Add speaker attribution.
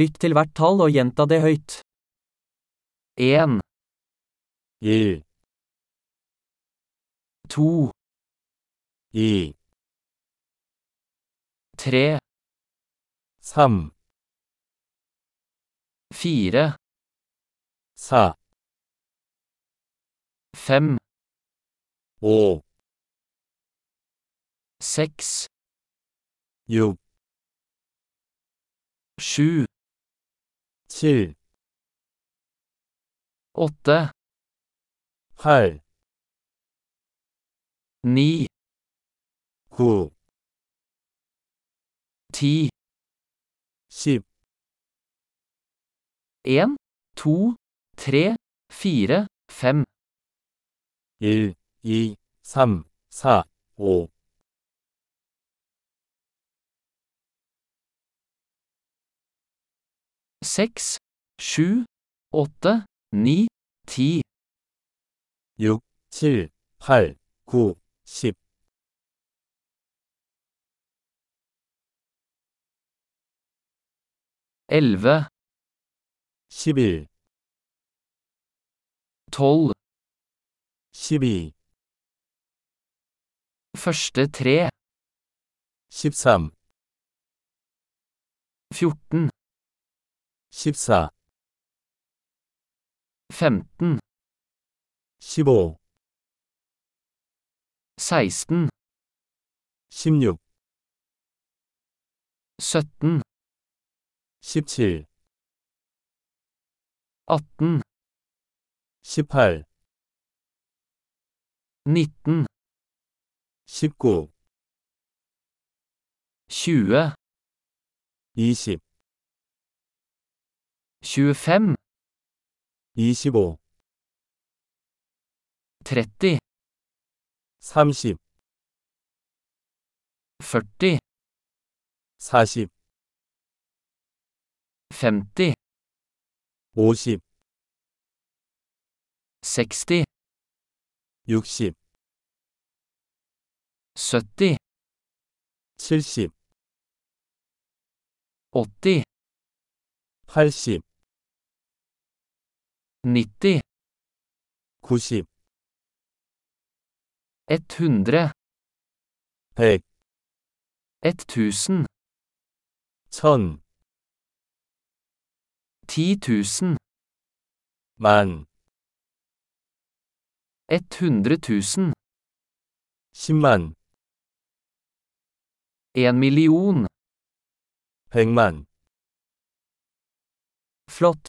Speaker 1: Lytt til hvert tall og gjenta det høyt. 1,
Speaker 2: 1,
Speaker 1: 2,
Speaker 2: 2,
Speaker 1: 3,
Speaker 2: 3,
Speaker 1: 4,
Speaker 2: 4,
Speaker 1: 5,
Speaker 2: 5,
Speaker 1: 6,
Speaker 2: 6,
Speaker 1: 7,
Speaker 2: 7,
Speaker 1: 8,
Speaker 2: 8,
Speaker 1: 9,
Speaker 2: 9,
Speaker 1: 10,
Speaker 2: 10,
Speaker 1: 1, 2, 3, 4, 5,
Speaker 2: 1, 2, 3, 4, 5,
Speaker 1: 6, 7, 8, 9, 10,
Speaker 2: 6, 7, 8, 9, 10,
Speaker 1: 11,
Speaker 2: 11,
Speaker 1: 12,
Speaker 2: 12,
Speaker 1: første tre,
Speaker 2: 13,
Speaker 1: 14,
Speaker 2: 14,
Speaker 1: 15,
Speaker 2: 15,
Speaker 1: 16,
Speaker 2: 16,
Speaker 1: 17,
Speaker 2: 17,
Speaker 1: 18,
Speaker 2: 18,
Speaker 1: 19,
Speaker 2: 19,
Speaker 1: 20,
Speaker 2: 20,
Speaker 1: 25,
Speaker 2: 25,
Speaker 1: 30,
Speaker 2: 30,
Speaker 1: 40,
Speaker 2: 40,
Speaker 1: 50,
Speaker 2: 50,
Speaker 1: 60,
Speaker 2: 60,
Speaker 1: 70,
Speaker 2: 70,
Speaker 1: 80,
Speaker 2: 80,
Speaker 1: 90,
Speaker 2: 90,
Speaker 1: 100,
Speaker 2: 100,
Speaker 1: 1000,
Speaker 2: 1000,
Speaker 1: 10 000,
Speaker 2: 만,
Speaker 1: 100 000,
Speaker 2: 10만,
Speaker 1: 1 million.
Speaker 2: 100만.
Speaker 1: Flott!